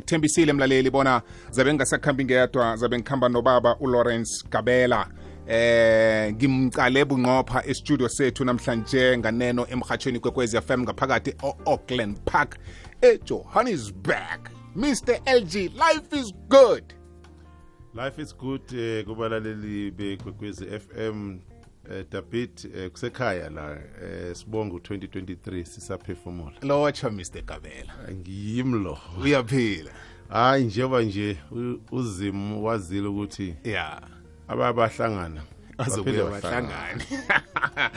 ngikuthembisile mlaleli bona zabe ngingasakhambi ngedwa zabe ngikhamba nobaba ulawrence gabela eh ngimcale bunqopha estudio sethu namhlanje nganeno emhathweni kwekwezi FM ngaphakathi o-auckland park ejohannesburg mr lg life is good life is good eh kubalaleli bekwekwezi fm eh David eh, kusekhaya la eh sibonga u2023 sisaphefumula lotsha mr gabela ngiyimlo uyaphila hayi njengoba nje u- uzimu wazile ukuthi ya ababahlangana azobuya baphinde bahlangane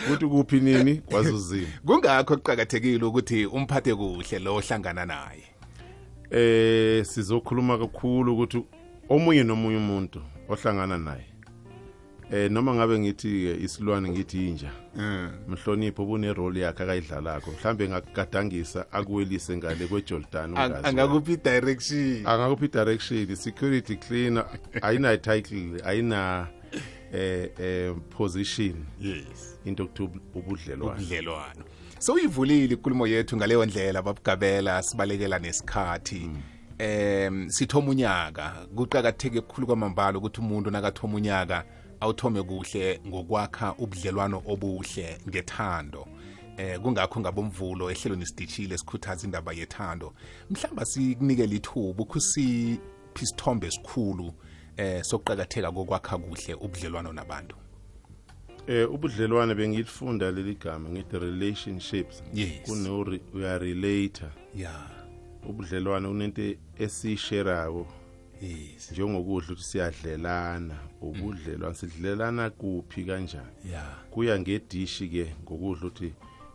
ukuthi kuphi nini kwazi uzimu kungakho kuqakathekile ukuthi umphathe kuhle lo ohlangana naye eh sizokhuluma kakhulu ukuthi omunye nomunye umuntu ohlangana naye eh noma ngabe ngithi eh, isilwane ngithi inja Mm. mhlonipho ubunerole yakhe akayidlalako mhlambe ngakugadangisa akuwelise ngale kwejordan Ang- ungazi angakuphi i-direction angakuphi direction security cleaner ayina title ayina eh eh position yes into kuthi ubudlelwane ubudlelwano so uyivulile inkulumo yethu ngaleyo ndlela babugabela sibalekela nesikhathi um sithoma unyaka kuqakatheke kukhulu kwamambala ukuthi umuntu nakathoma unyaka awuthome kuhle ngokwakha ubudlelwano obuhle ngethando eh kungakho ngabomvulo ehlelweni sidishile sikhuthaza indaba yethando mhlamba sikunikele ithuba ukhusi isithombe esikhulu eh sokuqakatheka kokwakha kuhle ubudlelwano nabantu eh ubudlelwane bengilifunda leli gama ngithi relationships Yes. kuno re- uya relater yeah ubudlelwane unento esisherayo yes njengokudla ukuthi siyadlelana Mm. ubudlelwane sidlelana kuphi kanjani yeah kuya ngedishi ke ngokudla ukuthi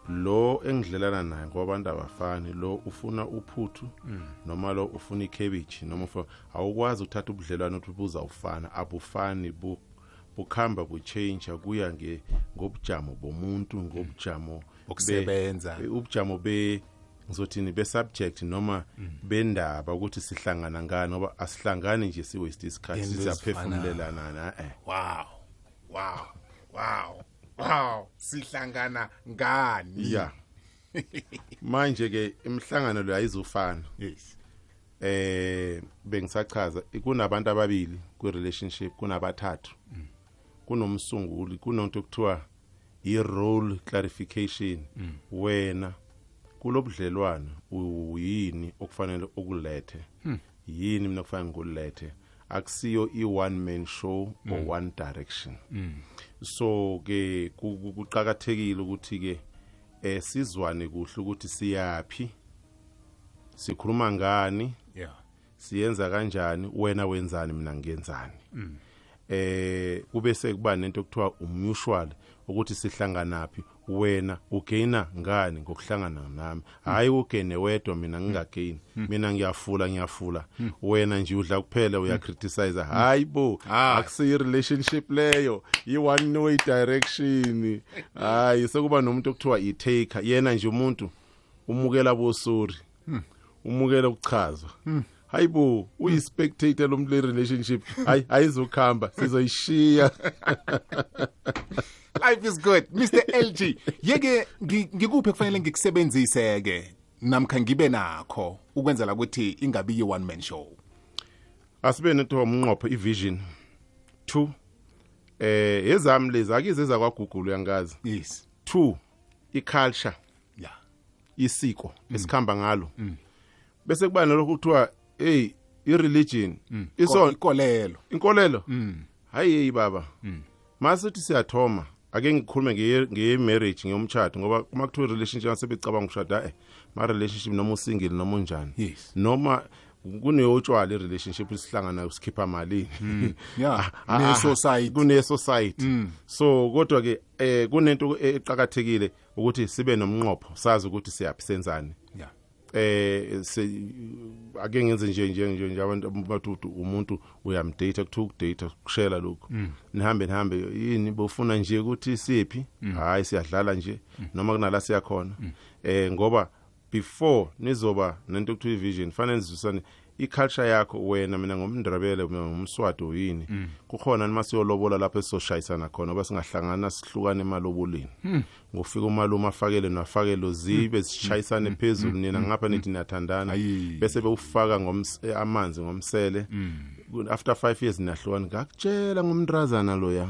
lo engidlelana naye ngoba abantu abafani lo ufuna uphuthu Mm. noma lo ufuna icabbage noma ufa awukwazi ukuthatha ubudlelwano ukuthi buzawufana abufani bu bukhamba butshentsha kuya nge ngobujamo bomuntu ngobujamo be- Mm. Bokusebenza. be- ubujamo be ngizothini be-subject noma Mm. bendaba ukuthi sihlangana ngani ngoba asihlangani nje si-waste isikhathi eh. Into sizaphefumulelana na-e wow wow wow wow sihlangana ngani ya manje ke imhlangano lo ayizufana yes eh bengisachaza kunabantu ababili ku relationship kunabathathu kunomsunguli kunonto kuthiwa i role clarification wena kulobudlelwano uyini okufanele ukulethe yini mina kufanele ngikulethe akusiyo i one man show or one direction so ke ku- ku- kuqhakathekile ukuthi ke eh sizwane kuhle ukuthi siyapi sikhuluma ngani yeah siyenza kanjani wena wenzani mina ngiyenzani eh kube sekuba nento ekuthiwa umutual ukuthi sihlanganaphi wena ugaina ngani ngokuhlangana nami hayi ugene wedwa mina ngingagaini mina ngiyafula ngiyafula wena nje udla kuphela uyacriticize hayi bo Ah. akusiyi relationship leyo i-one way direction hayi sekuba nomuntu okuthiwa i-taker yena nje umuntu umukela bosori umukela ukuchazwa hayi bo uyi-spectator lo muntu le-relationship hayi ayizokuhamba sizoyishiya life is good mr lg yeke ngi- ngikuphi kufanele ngikusebenzise ke namkha ngibe nakho ukwenzela ukuthi ingabi yi one man show asibe nethiwa umnqopho i-vision two eh ezami lezi akize zakwagugulu yangazi yes two i-culture yeah isiko esikhamba ngalo bese kuba nalokho kuthiwa hey i-religion Ko- isona ikolelo inkolelo hayi yeyi baba masithi siyathoma ake ngikhulume ngeye- ngeyemarriage ngeyomtshato ngoba uma kuthiwa i-relationship asebecabanga ukushada e ma-relationship noma usingile noma unjani Yes. noma kuneyotshwala i-relationship sihlangana sikhipha malini yeah Ah, ne-society. kune-society so kodwa-ke um kunento eqakathekile ukuthi sibe nomnqopho sazi ukuthi siyaphi senzani yeah eh se- ake ngenze nje nje nje nje abantu batutu umuntu uyamdata kuthiwa ukudata kushela lokhu nihambe nihambe yini bofuna nje ukuthi siphi hayi siyadlala nje noma kunala siyakhona eh ngoba before nizoba nento kuthiwa i-vision fanele nizwisane i-culture yakho wena mina ngomndrabele mina ngomswati uyini kukhona nima siyolobola lapho esizoshayisana khona ngoba singahlangana sihlukane emaloboleni ngofika umalume afakele nafakelo zibe sishayisane phezulu nina ngapha nithi niyathandana Ayi. bese bewufaka ngoms- eh, amanzi ngomsele after five years niyahlukana ngakutshela ngomndrazana loya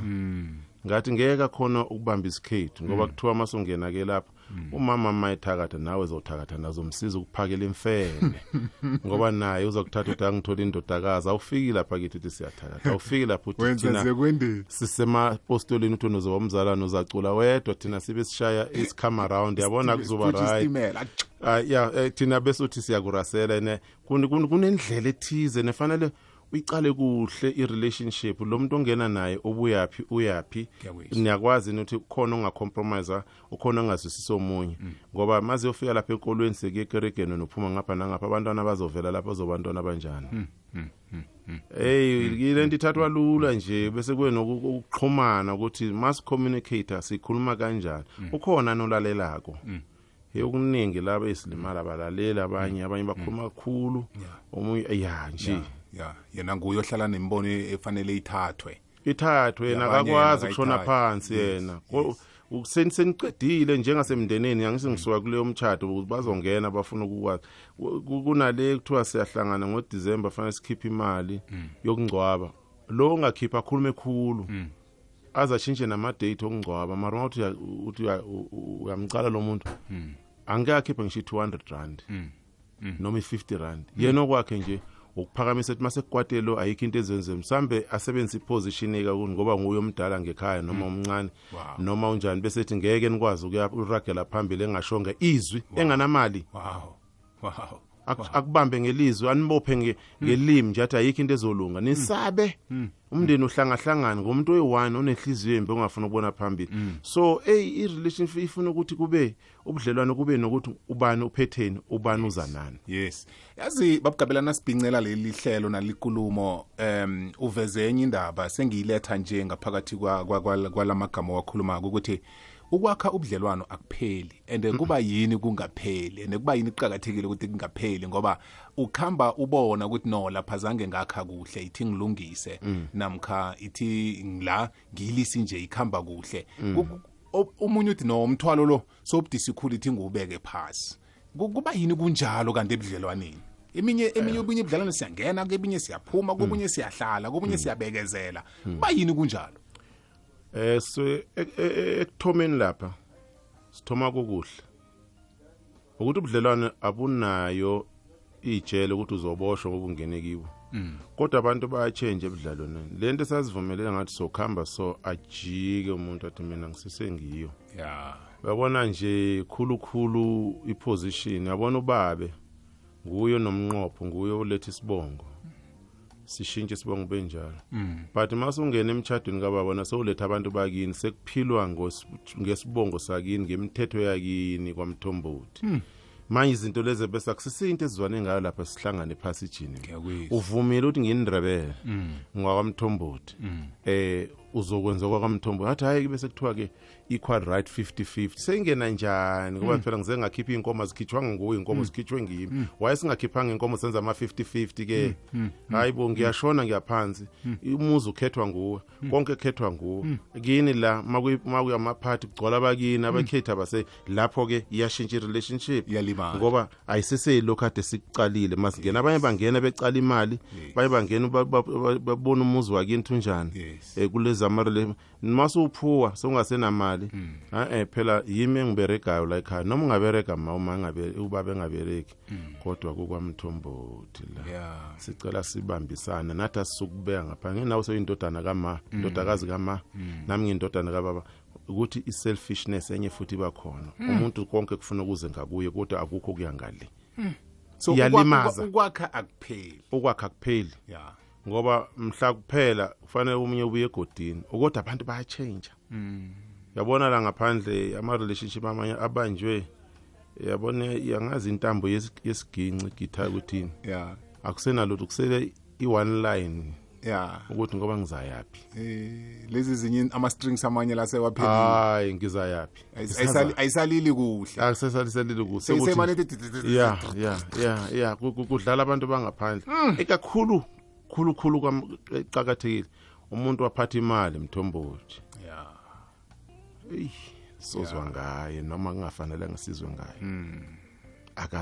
ngathi ngeke khona ukubamba isikhethu ngoba kuthiwa masungena ke lapho umama mayithakatha nawe zothakatha nazomsiza ukuphakela imfene ngoba naye uzakuthatha uthi angithola indodakazi awufiki lapha kithi uthi siyathakatha awufiki lapha uthi wenza thina zekwendeni sisemapostoleni uthi nozoba umzalwane uzacula wedwa thina sibe sishaya isicome around yabona kuzoba right istimela Atsh! Ah ya eh, thina bese uthi siyakurasela ne kun- kun- kunendlela ethize nefanele uyicale kuhle irelationship lo muntu ongena naye obuyaphi uyaphi Ngiyakuzwa. niyakwazi ukuthi khona ongacompromise ukhona ongazwisisi omunye ngoba maze uyofika lapha enkolweni sekuyekeregeni nophuma ngapha nangapha abantwana bazovela lapha bazobantwana abanjani Mm, hey ile nto ithathwa lula nje bese kube nokuxhumana ukuthi mas communicator sikhuluma kanjani Mm. ukhona nolalelako hey okuningi laba esilimala balalela abanye Mm. abanye bakhuluma kakhulu omunye ya nje ya yena nguye ohlala nembono efanele ithathwe ithathwe yena Yabanye akakwazi yena kushona akayithathi. phansi Yes, Mm. yena Ko- u- seni- seniqedile njengasemndeneni angise ngisuka kuleyo mtshato ukuthi bazongena bafuna ukukwazi Ku- ku- kunale kuthiwa siyahlangana ngodisemba fanele sikhiphe imali Mm. yokungcwaba lo ongakhipha akhulume khulu azashintshe namadeyithi okungcwaba mara uma uthi uya- uthi uya- u- u- uyamcala lo muntu angeke akhiphe ngisho i-200 rand noma i-50 rand yena okwakhe nje ukuphakamisa ukuthi masekukwatele lo ayikho into ezenzeni mhlambe asebenzise iposition eka kuni ngoba nguye omdala ngekhaya noma umncane Wow. noma unjani bese ethi ngeke nikwazi ukuyaragela phambili engashonga izwi enganamali wow wow Ak- akubambe ngelizwi anibophe nge- ngelimi nje athi ayikho into ezolunga nisabe umndeni uhlangahlangane ngomuntu oyi-one onenhliziyo embi ongafuna ukubona phambili so eyi i-relationship ifuna ukuthi kube ubudlelwane kube nokuthi ubani uphetheni ubani uza nani yes yazi babugabela nasibhincela leli hlelo nalikulumo um uveze enye indaba sengiyiletha nje ngaphakathi kwa- kwa- kwa- kwalamagama owakhulumako ukuthi ukwakha ubudlelwano akupheli and kuba yini kungapheli and kuba yini kuqakathekile ukuthi kungapheli ngoba ukuhamba ubona ukuthi no lapha zange ngakha kuhle ithi ngilungise namkha ithi ngila ngiyilisi nje ikhamba kuhle Ku- o- omunye uthi no umthwalo lo sobudisikhulu ithi nguwubeke phasi Ku- kuba yini kunjalo kanti ebudlelwaneni eminye eminye obunye ubudlelwane siyangena kebinye siyaphuma kobunye siyahlala kobunye siyabekezela kuba yini kunjalo eh so e- e- e- ekuthomeni lapha sithoma kokuhle ukuthi ubudlelwane abunayo ijele ukuthi uzoboshwa ngoba ungene kibo kodwa abantu bayatshentshe ebudlalwaneni le nto esazivumelele ngathi sokuhamba so ajike umuntu athi mina ngisisengiyo ya uyabona nje khulukhulu iposition yabona ubabe nguye nomnqopho nguye oletha isibongo sishintshe isibongo benjalo but mase ungena emtshadweni kababa nasewuletha abantu bakini sekuphilwa ngos- ngesibongo sakini ngemithetho yakini kwamthombothi manje izinto lezi bese akusisinto esizwane ngayo lapha sihlangane phasijini Ngiyakuzwa. uvumile ukuthi ngiyindrabele ngwakwamthombothi eh uzokwenza okwakwamthombothi athi hayi bese kuthiwa ke equal right 50-50 sengena njani ngoba phela ngize ngakhipha iy'nkomo zikhitshwanga nguwe iy'nkomo zikhitshwe ngimi waye singakhiphanga iy'nkomo senza ama-50-50 ke hayi bo ngiyashona ngiyaphansi umuzi ukhethwa nguwe konke kukhethwa nguwe kini la makuyamaphathi kugcwala abakini abakhethi abase lapho-ke iyashintsha i-relationship Iyalimala. ngoba ayiseseyilokhu kade sikucalile masingena abanye bangena becala imali baye bangena ba- ba- ba- babone umuzi wakini thunjani Yes. um kulezamari mase uphuwa seungasenamali a-e eh, phela yimi engiberegayo la ekhaya noma ungaberega ma uma engabe- ubaba engabereki kodwa kukwamthombothi la ya sicela sibambisane nathi asisukubeka ngapha ngenawe seyindodana kama indodakazi kama nami ngiyindodana kababa ukuthi i-selfishness enye futhi ibakhona umuntu konke kufuna ukuze ngakuye kodwa akukho kuya ngale so ukwa- Iyalimaza. ukwa- ukwakha akupheli okwakhe akupheli ya ngoba mhla kuphela kufanele umunye ubuye egodini kodwa abantu bayatshentsha yabona la ngaphandle ama-relationship amanye abanjwe yabona yangazi intambo yesi- yesiginci githa kuthini ya akusenalutho kusele i-one line ya ukuthi ngoba ngizayaphi eh, lezi zinye ama-strings amanye lasewaphelile hayi ngizayaphi Ayisali- ayisalili kuhle akusesaliselile seyisemane kuseya ti- ti- ti- ti- ya ya ya ya Ku- ku- kudlala abantu bangaphandle Eh, ikakhulu khulukhulu kwaqakathekile umuntu waphatha imali mthombothi Ya. eyi sozwa ngaye noma kungafanele ngisizwe ngaye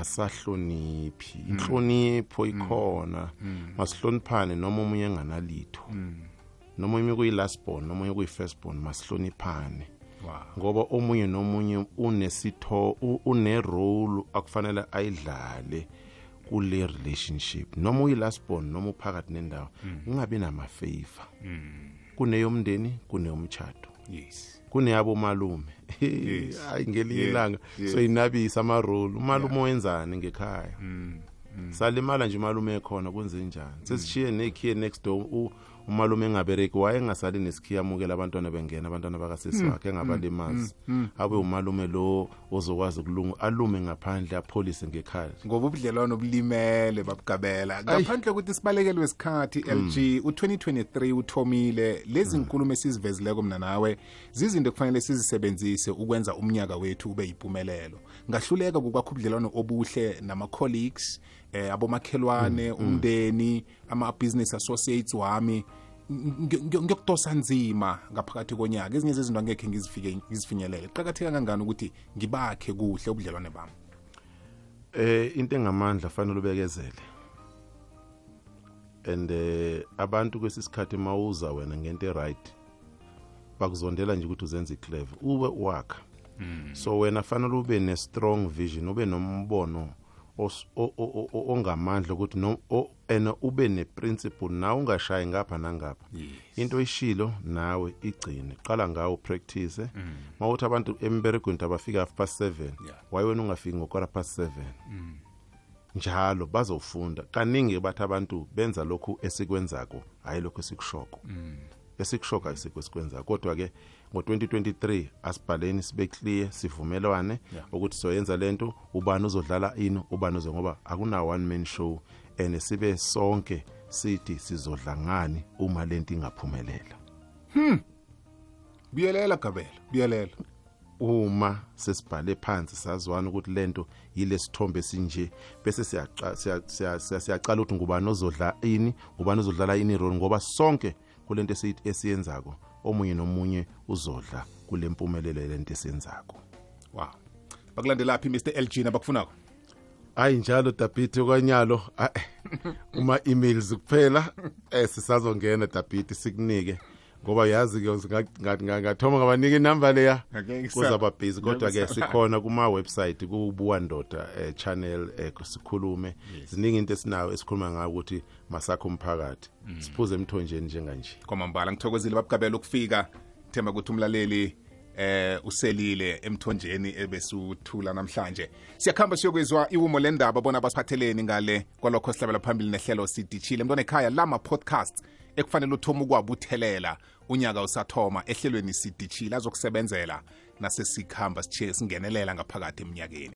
akasahloniphi inhlonipho ikhona masihloniphane noma omunye enganalitho noma omunye kuyi-last born noma omunye kuyi-first born masihloniphane Wow. ngoba omunye nomunye unesitho u- unerole akufanele ayidlale kule relationship noma uyi-last born noma uphakathi nendawo ungabi namafavor kuneyomndeni kuneyomtshato yes kuneyabo malume Yes. hayi ngelinye Yeah, ilanga yeah. soyinabisa amarole umalume wenzani ngekhaya Mm, salimala nje umalume ekhona kwenzenjani sesishiye Mm. nekhiye next door u- umalume engabereki wayengasali nesikhiye amukela abantwana bengena abantwana Mm, bakasisi wakhe engabalimazi abe umalume lo ozokwazi ukulunga alume ngaphandle apholise ngekhaya ngoba ubudlelwano obulimele babugabela ngaphandle kokuthi sibalekelwe isikhathi lg u-2023 uthomile lezi nkulumo esizivezileko mina nawe zizinto ekufanele sizisebenzise ukwenza umnyaka wethu ube yimpumelelo ngahluleka kukwakha ubudlelwano obuhle nama-colleagues eh, abomakhelwane umndeni ama-business associates wami ngiy- ngiy- ngiyokudosa nzima ngaphakathi konyaka ezinye zezinto angekhe ngizifike- ngizifinyelele kuqakatheka kangani ukuthi ngibakhe kuhle ubudlelwane bami eh into engamandla fanele ubekezele and eh abantu kwesisikhathi mawuza wena ngento eright bakuzondela nje ukuthi uzenze iclever ube wakha so wena fanele ube ne strong vision ube nombono os- o- o- o- ongamandla ukuthi no o- and ube ne principle na ungashayi ngapha nangapha into ishilo nawe igcine qala ngawo practice mawuthi abantu emberegweni abafika half past 7 Yeah. Mm. waye wena ungafiki ngokora past 7 njalo bazofunda kaningi bathi abantu benza lokhu esikwenzako hayi lokhu esikushoko Mm. esikushoka isikho esikwenza kodwa-ke ngo-2023 asibhaleni sibe clear sivumelwane Yeah. ukuthi soyenza lento ubani uzodlala ini ubani uze ngoba akuna one man show and sibe sonke sithi sizodla ngani uma lento ingaphumelela buyelela gabela buyelela uma sesibhale phansi sazwana ukuthi lento yile sithombe sinje bese siyaqa- siya- siya- siya- siyacala ukuthi ngubani ozodla ini ubani ozodlala ini role ngoba sonke kulento esiyi- esiyenzako omunye nomunye uzodla kule mpumelelo yalento esiyenzako wow bakulandelaphi mr lg nabakufunako hayi njalo dabhithi okwanyalo uma-emails kuphela um sisazongena dabhithi sikunike ngoba yazi-ke singa- nga- nga- ngathoma ngabanika inamba leya Ake kusasa. kuzaba busy kodwa-ke Kusasa. sikhona kuma-website kubuwandoda um channel um sikhulume ziningi into esinayo esikhuluma ngayo ukuthi masakho umphakathi siphuze emthonjeni njenganje kwamambala ngithokozile babugabela ukufika themba ukuthi umlaleli eh uselile emthonjeni ebesuthula namhlanje siyakhamba siyokwezwa iwumo lendaba bona basiphatheleni ngale kwalokho sihlabela phambili nehlelo sidishile mntwana ekhaya lama podcasts ekufanele uthoma ukwabuthelela unyaka usathoma ehlelweni sidishile azokusebenzela nasesikhamba sishiye singenelela ngaphakathi eminyakeni